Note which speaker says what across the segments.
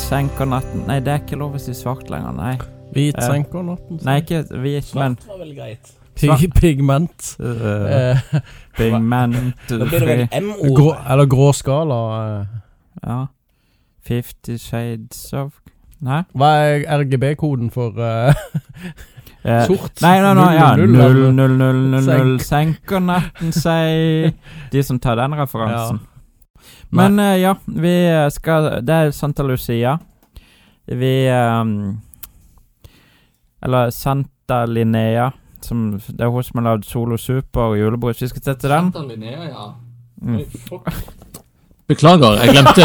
Speaker 1: senker natten Nei, det er ikke lov å si svart lenger, nei.
Speaker 2: Hvit
Speaker 1: Eh,
Speaker 2: senker natten.
Speaker 1: Nei, ikke hvit, men
Speaker 3: Svart var vel greit.
Speaker 2: Pig, pigment.
Speaker 1: uh,
Speaker 2: Eh,
Speaker 3: Da blir det vel
Speaker 1: Pigmentfri
Speaker 3: M-ord.
Speaker 2: grå, eller gråskala. eh.
Speaker 1: Ja. Fifty Shades of Nei?
Speaker 2: Hva er RGB-koden for eh,
Speaker 1: Eh,
Speaker 2: sort?
Speaker 1: Nei, nei, nei, ja.
Speaker 2: 000,
Speaker 1: Null,
Speaker 2: eller?
Speaker 1: null, null, null,
Speaker 2: Senk.
Speaker 1: null. Senker natten seg De som tar den referansen. Men eh, ja, vi eh, skal Det er Santa Lucia. Vi ehm, Eller Santa Linnea. Som, det er hun som har lagd Solo Super og julebrus. Vi skal se til den.
Speaker 4: Santa Linnea, ja.
Speaker 1: Mm.
Speaker 4: Oi, fuck. Beklager, jeg glemte,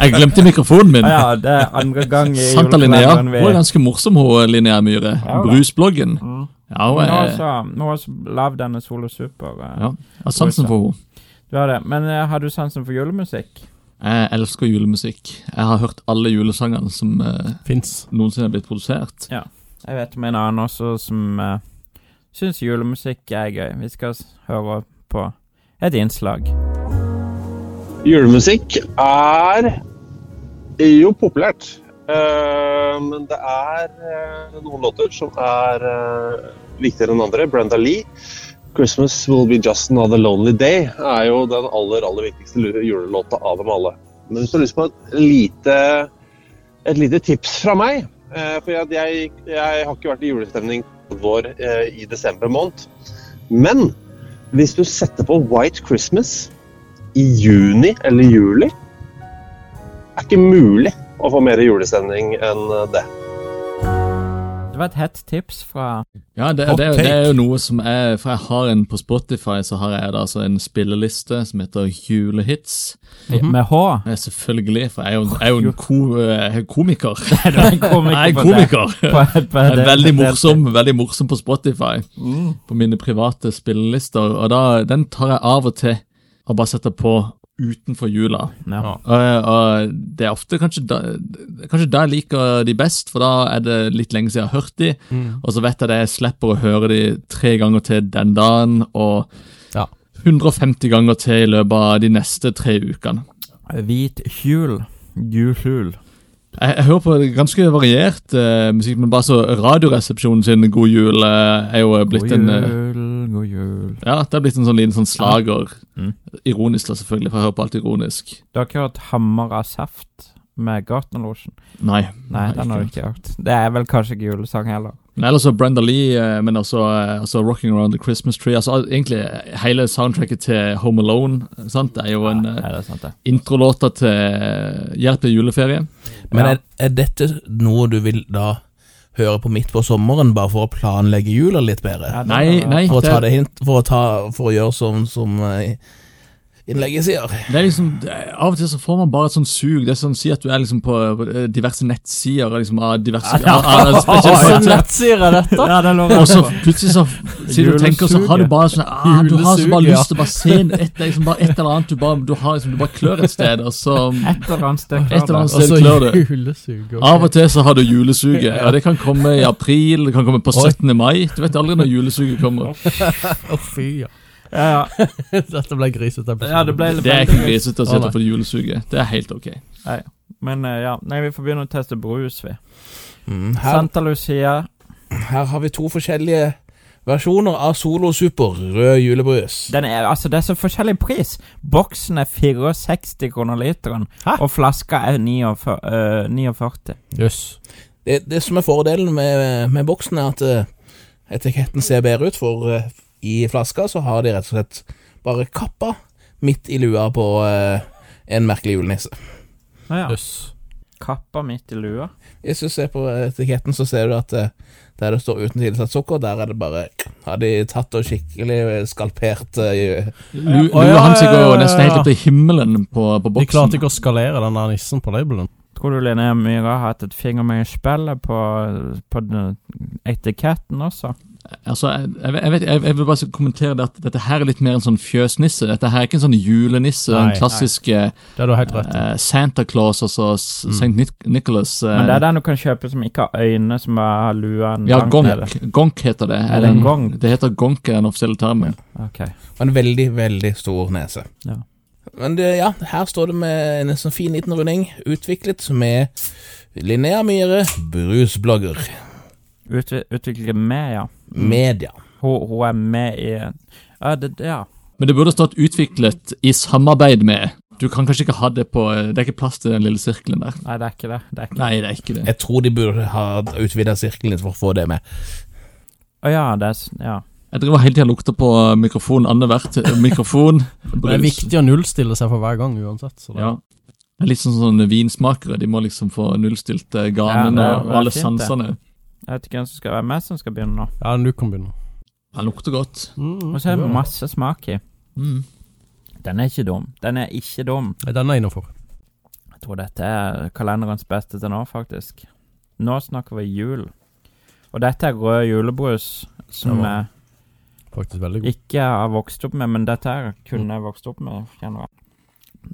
Speaker 4: jeg glemte mikrofonen min.
Speaker 1: Ah, ja, det er andre gang i
Speaker 4: Santa Linnea.
Speaker 1: julekalenderen
Speaker 4: Hun
Speaker 1: vi
Speaker 4: er ganske morsom, hun Linnea Myhre.
Speaker 1: Ja, da.
Speaker 4: Brusbloggen.
Speaker 1: Mm.
Speaker 4: Ja, hun
Speaker 1: Nå har
Speaker 4: er,
Speaker 1: også- nå har også lagd denne Solo Super. eh.
Speaker 4: Ja. jeg har sansen for henne.
Speaker 1: Du har det. Men eh, har du sansen for julemusikk?
Speaker 4: Jeg elsker julemusikk. Jeg har hørt alle julesangene som eh,
Speaker 2: Fins.
Speaker 4: noensinne er blitt produsert.
Speaker 1: Jeg vet om en annen også som uh, syns julemusikk er gøy. Vi skal s- høre på et innslag.
Speaker 5: Julemusikk er jo populært. Eh, men det er eh, noen låter som er eh, viktigere enn andre. Brenda Lee, 'Christmas Will Be Just Another Lonely Day', er jo den aller aller viktigste lu- julelåta av dem alle. Men hvis du har lyst på et lite, et lite tips fra meg eh, For jeg, jeg, jeg har ikke vært i julestemning vår eh, i desember måned. Men hvis du setter på 'White Christmas' i juni eller juli. Det er ikke mulig å få mer julestemning enn det.
Speaker 1: Det var et hett tips fra
Speaker 4: Ja, det,
Speaker 2: Hot
Speaker 4: det,
Speaker 2: take.
Speaker 4: det er jo noe som er For jeg har en på Spotify, så har jeg da altså en spilleliste som heter Julehits.
Speaker 1: med H.
Speaker 4: Eh, Selvfølgelig, for jeg er jo, jeg er jo en ko, eh, komiker.
Speaker 1: Er du en komiker
Speaker 4: Jeg er
Speaker 1: på det?
Speaker 4: komiker.
Speaker 1: På- på
Speaker 4: Jeg
Speaker 1: det-
Speaker 4: er veldig
Speaker 1: på det-
Speaker 4: morsom, veldig morsom på Spotify.
Speaker 1: Mm.
Speaker 4: På mine private spillelister. Og da, den tar jeg av og til og bare setter på utenfor jula.
Speaker 1: Ja.
Speaker 4: Og, og det er ofte kanskje da, kanskje da jeg liker de best, for da er det litt lenge siden jeg har hørt de.
Speaker 1: Mm.
Speaker 4: Og så vet jeg det, jeg slipper å høre de tre ganger til den dagen, og
Speaker 2: Ja.
Speaker 4: 150 ganger til i løpet av de neste tre ukene.
Speaker 1: Hvit hjul. Julhul.
Speaker 4: Jeg, jeg hører på ganske variert eh, musikk, men bare så Radioresepsjonen sin God jul eh, er jo blitt
Speaker 1: God
Speaker 4: en eh,
Speaker 1: jul, god jul.
Speaker 4: Ja, det har blitt en sånn liten sånn slager.
Speaker 1: Mm.
Speaker 4: Ironisk, da, selvfølgelig, for jeg hører på alt ironisk.
Speaker 1: Du har ikke hørt Hammer av saft med Gartnerlosjen?
Speaker 4: Nei.
Speaker 1: Nei, den har du ikke hørt. Det er vel kanskje ikke julesang heller.
Speaker 4: Men ellers så Brenda Lee, eh, men også, eh, også Rocking Around the Christmas Tree. Altså al- Egentlig eh, hele soundtracket til Home Alone eh, sant? Det er jo en
Speaker 1: Nei,
Speaker 4: eh,
Speaker 1: det er sant, det.
Speaker 4: introlåta til eh, Hjelp til juleferie.
Speaker 3: Men
Speaker 1: Ja.
Speaker 3: er, er dette noe du vil da høre på midt på sommeren, bare for å planlegge jula litt bedre?
Speaker 1: Ja, det
Speaker 4: Nei,
Speaker 1: var-
Speaker 4: nei
Speaker 3: For å ta
Speaker 4: det,
Speaker 3: det hint, for å, ta, for å gjøre som, som eh, innlegget sier?
Speaker 4: det er liksom, det er- Av og til så får man bare et sånt sug. Det er sånn Si at du er liksom på eh, diverse nettsider og liksom, av diverse av, av, spesielle nettsider.
Speaker 3: nettsider er dette?
Speaker 1: Ja, det lover
Speaker 4: Og så plutselig så Siden du tenker, så har du
Speaker 1: Julesuget.
Speaker 4: bare sånn ah, Du har så bare
Speaker 3: Julesuget, ja.
Speaker 4: lyst til å bare se en- et, liksom, bare et eller annet. Du bare, du har, liksom, du bare klør et sted, og så
Speaker 1: Et eller annet sted.
Speaker 4: Et eller annet
Speaker 2: Og så
Speaker 4: sted klør det.
Speaker 2: julesug. ok.
Speaker 4: Av og til så har du julesuget. Ja, Det kan komme i april, det kan komme på 17. mai. Du vet aldri når julesuget kommer.
Speaker 2: Å, fy, ja.
Speaker 1: Ja, ja.
Speaker 2: Dette ble grisete.
Speaker 1: ja, det ble litt
Speaker 4: Det er ikke
Speaker 1: veldig-
Speaker 4: grisete å si at det er for julesuget. Det er helt ok.
Speaker 1: Men eh, ja, nei, vi får begynne å teste brus, vi.
Speaker 3: Mm, her,
Speaker 1: Santa Lucia.
Speaker 3: her har vi to forskjellige versjoner av Solo Super rød julebrus.
Speaker 1: Den er, altså, det er så forskjellig pris. Boksen er 64 kroner literen,
Speaker 2: Hæ?
Speaker 1: og flaska er 49. øh, 49.
Speaker 2: Jøss.
Speaker 3: Det, det som er fordelen med, med boksen, er at eh, etiketten ser bedre ut, for eh, i flaska så har de rett og slett bare kappa midt i lua på eh, en merkelig julenisse.
Speaker 1: Ja, ja.
Speaker 2: Jøss.
Speaker 1: Kappa midt i lua.
Speaker 3: Hvis du ser på etiketten, så ser du at eh, der det står 'uten tilsatt sukker', der er det bare Har de tatt og skikkelig skalpert eh,
Speaker 4: Lu-
Speaker 2: Å, ja,
Speaker 4: Lua hans
Speaker 2: ja, ja,
Speaker 4: går
Speaker 2: ja,
Speaker 4: nesten helt
Speaker 2: ja.
Speaker 4: opp til himmelen på, på
Speaker 2: De klarte
Speaker 4: boksen.
Speaker 2: ikke å skalere den der nissen på labelen.
Speaker 1: Tror du Linnea Myhre har hatt et finger med i spillet på, på den etiketten også?
Speaker 4: Altså, jeg, jeg, vet, jeg, jeg vil bare så kommentere det at dette her er litt mer en sånn fjøsnisse. Dette her er ikke en sånn julenisse,
Speaker 2: Nei,
Speaker 4: den klassiske
Speaker 2: Det er du helt rett i.
Speaker 4: eh, Santa Claus, altså S- St. Nic- Nicholas. eh,
Speaker 1: Men det er den du kan kjøpe som ikke har øyne, som bare har luen
Speaker 4: ja,
Speaker 1: langt nede.
Speaker 4: gonk, gonk heter det.
Speaker 1: Er det en gonk?
Speaker 4: Det heter gonk er den offisielle termen.
Speaker 1: Ok.
Speaker 3: og en veldig, veldig stor nese.
Speaker 1: Ja.
Speaker 3: Men det, ja, her står det med en sånn fin liten runding, utviklet med Linnea Myhre, brusblogger,
Speaker 1: Utvi utvikle med, ja.
Speaker 2: Mm.
Speaker 3: media.
Speaker 1: Hun, hun er med i Ja, det, ja.
Speaker 4: Men det burde stått 'utviklet i samarbeid med'. Du kan kanskje ikke ha det på eh, Det er ikke plass til den lille sirkelen der.
Speaker 1: Nei, det er ikke det. det er ikke.
Speaker 4: Nei, det er ikke det.
Speaker 3: Jeg tror de burde ha utvida sirkelen litt for å få det med.
Speaker 1: Å ja, det er s- Ja.
Speaker 4: Jeg driver hele tida og lukter på eh, mikrofonen annethvert Eh, mikrofon.
Speaker 2: Det er
Speaker 4: brus.
Speaker 2: viktig å nullstille seg for hver gang uansett. Så det,
Speaker 4: Ja. Det er litt sånn sånn vinsmakere. De må liksom få nullstilt eh,
Speaker 1: Ja,
Speaker 4: ganen
Speaker 1: det er-
Speaker 4: og
Speaker 1: det er
Speaker 4: alle
Speaker 1: fint, det.
Speaker 4: sansene.
Speaker 1: Jeg vet ikke hvem som skal være med som skal begynne nå.
Speaker 2: ja, du kan begynne.
Speaker 4: Den lukter godt.
Speaker 2: Mm,
Speaker 1: Og så er det
Speaker 2: ja.
Speaker 1: masse smak i.
Speaker 4: Mm.
Speaker 1: Den er ikke dum. Den er ikke dum.
Speaker 2: Nei, Den er innafor.
Speaker 1: Jeg tror dette er kalenderens beste til nå, faktisk. Nå snakker vi jul. Og dette er rød julebrus, som
Speaker 2: Det var-
Speaker 1: jeg
Speaker 2: Faktisk veldig god.
Speaker 1: ikke har vokst opp med, men dette her kunne jeg vokst opp med, kjenner jeg.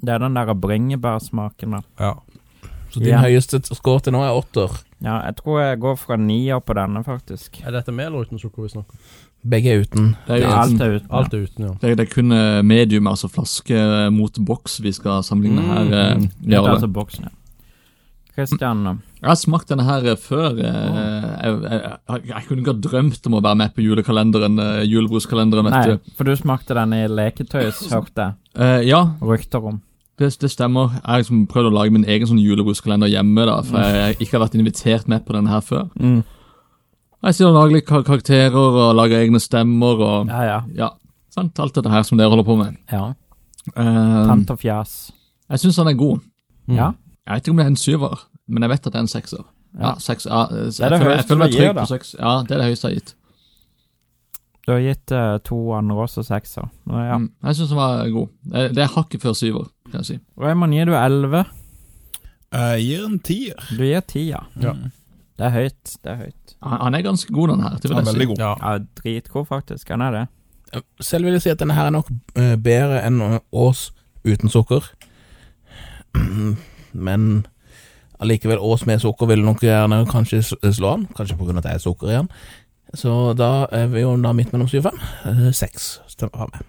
Speaker 1: Det er den der bringebærsmaken, da.
Speaker 2: Ja.
Speaker 3: Så din
Speaker 1: Ja.
Speaker 3: høyeste score til nå er åtter.
Speaker 1: Ja, jeg tror jeg går fra nier på denne, faktisk.
Speaker 2: Er dette med eller uten sukker vi snakker om?
Speaker 3: Begge er uten.
Speaker 4: Det er,
Speaker 1: Ja,
Speaker 4: jo,
Speaker 1: alt er uten.
Speaker 2: Alt er uten, ja.
Speaker 4: det, er- det er kun eh, medium, altså flaske eh, mot boks, vi skal sammenligne her. eh,
Speaker 1: Det er
Speaker 4: Jarle.
Speaker 1: altså boksen, Mm. ja. Christian, eh,
Speaker 4: Jeg har smakt denne her eh, før. eh, Jeg, jeg, jeg, jeg kunne ikke ha drømt om å være med på julekalenderen, eh, julebruskalenderen,
Speaker 1: nei,
Speaker 4: vet du.
Speaker 1: for du smakte den i leketøys, hørte jeg
Speaker 4: Eh, ja,
Speaker 1: rykter om.
Speaker 4: det, det stemmer. Jeg har liksom prøvd å lage min egen sånn julebruskalender hjemme, da, for
Speaker 1: Mm.
Speaker 4: jeg ikke har vært invitert med på denne her før. Jeg sitter og lager litt kar- karakterer og lager egne stemmer og
Speaker 1: Ja, ja.
Speaker 4: ja, sant, alt dette her som dere holder på med.
Speaker 1: ja.
Speaker 4: Eh,
Speaker 1: Tant og fjas.
Speaker 4: jeg syns han er god.
Speaker 2: Mm.
Speaker 1: Ja.
Speaker 4: Jeg vet ikke om det er en syver, men jeg vet at det er en sekser. Ja,
Speaker 1: Ja.
Speaker 4: seks, ja, eh,
Speaker 1: er
Speaker 4: jeg,
Speaker 1: det
Speaker 4: føler, jeg
Speaker 1: høyeste
Speaker 4: føler meg
Speaker 1: du
Speaker 4: trygg
Speaker 1: gir, da.
Speaker 4: på seks. Ja, det er det høyeste jeg har gitt.
Speaker 1: Du har gitt eh, to andre også sekser. Nå, Ja.
Speaker 4: Mm, jeg syns han var god. Det, det er hakket før syver, kan jeg si.
Speaker 1: Raymond, gir du elleve?
Speaker 6: Jeg Eh, gir en tier.
Speaker 1: Du gir ti, ja.
Speaker 2: Mm. Ja.
Speaker 1: Det er høyt. Det er høyt.
Speaker 4: Han, han er ganske god, den her. Det vil
Speaker 6: Den er
Speaker 4: jeg si.
Speaker 6: veldig god.
Speaker 2: ja.
Speaker 1: Ja, dritgod, faktisk. Han er det.
Speaker 3: Selv vil jeg si at denne her er nok eh, bedre enn Ås uten sukker. Men allikevel, Ås med sukker vil nok gjerne kanskje s- slå han, kanskje på grunn av at det er sukker i han. Så da er vi jo da midt mellom 7 og 5. Eh, 6 stemmer har vi.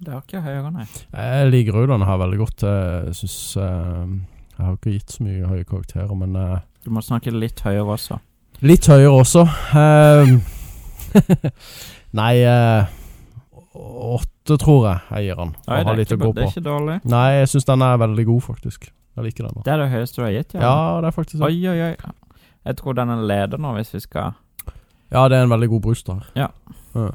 Speaker 1: Det er ikke høyere, nei.
Speaker 2: Jeg liker òg denne her veldig godt. Jeg synes, eh, Jeg har ikke gitt så mye høye karakterer, men eh,
Speaker 1: Du må snakke litt høyere også.
Speaker 2: Litt høyere også. Eh, Nei eh, Åtte, tror jeg jeg gir han.
Speaker 1: Nei,
Speaker 2: Jeg
Speaker 1: det,
Speaker 2: har
Speaker 1: er
Speaker 2: litt
Speaker 1: ikke,
Speaker 2: å gå
Speaker 1: det
Speaker 2: på.
Speaker 1: er ikke dårlig.
Speaker 2: Nei, jeg syns den er veldig god, faktisk. Jeg liker den. da.
Speaker 1: Det er det høyeste du har gitt,
Speaker 2: Ja, det er faktisk
Speaker 1: Oi,
Speaker 2: det.
Speaker 1: oi, oi. Jeg tror den er leder nå, hvis vi skal
Speaker 2: Ja, det er en veldig god brus, da.
Speaker 1: Ja.
Speaker 2: Ja.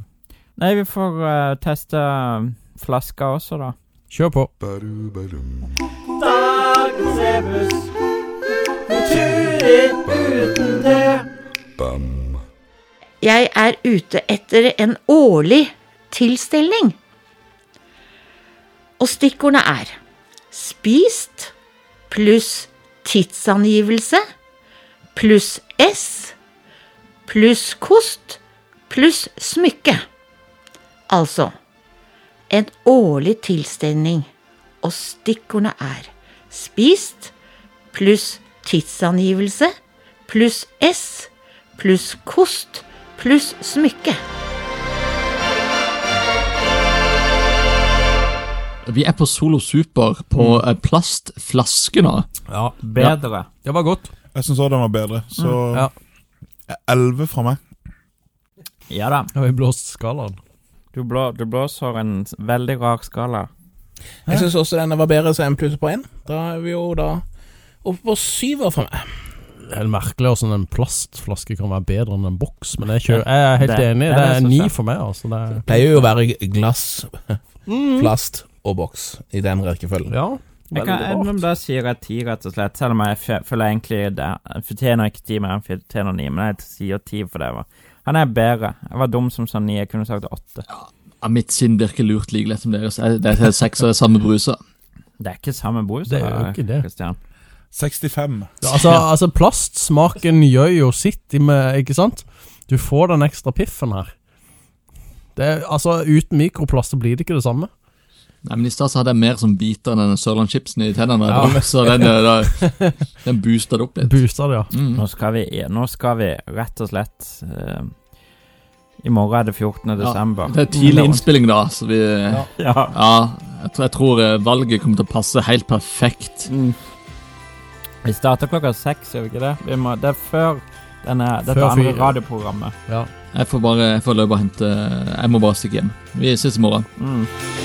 Speaker 1: Nei, vi får eh, teste eh, flaska også, da.
Speaker 2: Kjør på.
Speaker 7: Jeg er ute etter en årlig tilstelning. Og stikkordene er spist pluss tidsangivelse pluss S pluss kost pluss smykke. Altså en årlig tilstelning, og stikkordene er spist pluss tidsangivelse pluss S pluss kost pluss smykke.
Speaker 4: Vi er på Solo Super på
Speaker 1: Mm.
Speaker 4: eh, plastflaske nå.
Speaker 2: Ja,
Speaker 1: Bedre.
Speaker 2: det var godt. Mm.
Speaker 6: Jeg syns òg den var bedre, så
Speaker 2: Ja.
Speaker 6: elleve fra meg.
Speaker 1: Ja da.
Speaker 2: Jeg har blåst skalaen.
Speaker 1: Du, blå, du blåser en s- veldig rar skala.
Speaker 3: Jeg syns også denne var bedre, så en pluss på 1. Da er vi jo da oppe på 7 for meg.
Speaker 2: Det er merkelig hvordan en plastflaske kan være bedre enn en boks, men jeg, kjører, jeg er helt
Speaker 1: Det-
Speaker 2: enig.
Speaker 1: det er
Speaker 2: Det er
Speaker 1: så
Speaker 2: ni
Speaker 1: sant.
Speaker 2: for meg, altså. Det er,
Speaker 3: Pleier jo å være glass, plast og boks i den rekkefølgen.
Speaker 2: ja,
Speaker 1: Jeg kan, jeg, men
Speaker 2: veldig bra.
Speaker 1: da sier jeg ti, rett og slett. Selv om jeg fø- føler egentlig det. Jeg fortjener ikke ti, men jeg fortjener ni. Men jeg sier ti for det. Var. Han er bedre. Jeg var dum som sa ni. Jeg kunne sagt åtte.
Speaker 4: Ja, mitt sinn virker lurt like lett som deres. Eh, Det er seks av det samme bruset.
Speaker 1: Det er ikke samme brus.
Speaker 2: Det er jo
Speaker 1: da,
Speaker 2: ikke det.
Speaker 1: Christian.
Speaker 6: 65.
Speaker 2: Ja, Altså, altså plastsmaken gjør jo sitt i med, ikke sant? Du får den ekstra piffen her. Det er, altså, uten mikroplast så blir det ikke det samme.
Speaker 4: Nei, men I stad så hadde jeg mer som biter enn Sørland Chipsen i tennene. Så den, eh, da, den boosta det opp litt.
Speaker 2: Booster det, ja.
Speaker 4: Mm.
Speaker 1: Nå skal vi, nå skal vi rett og slett eh, I morgen er det 14. desember.
Speaker 4: Det er tidlig innspilling, da, så vi Ja,
Speaker 1: Ja.
Speaker 4: jeg, tror, jeg tror eh, valget kommer til å passe helt perfekt.
Speaker 1: Mm. Vi starter klokka seks, gjør vi ikke det? Vi må, det er før denne, dette
Speaker 2: Før
Speaker 1: andre
Speaker 2: fire.
Speaker 1: radioprogrammet.
Speaker 4: Jeg får bare jeg får løpe og hente Jeg må bare stikke hjem. Vi ses i morgen.
Speaker 1: Mm.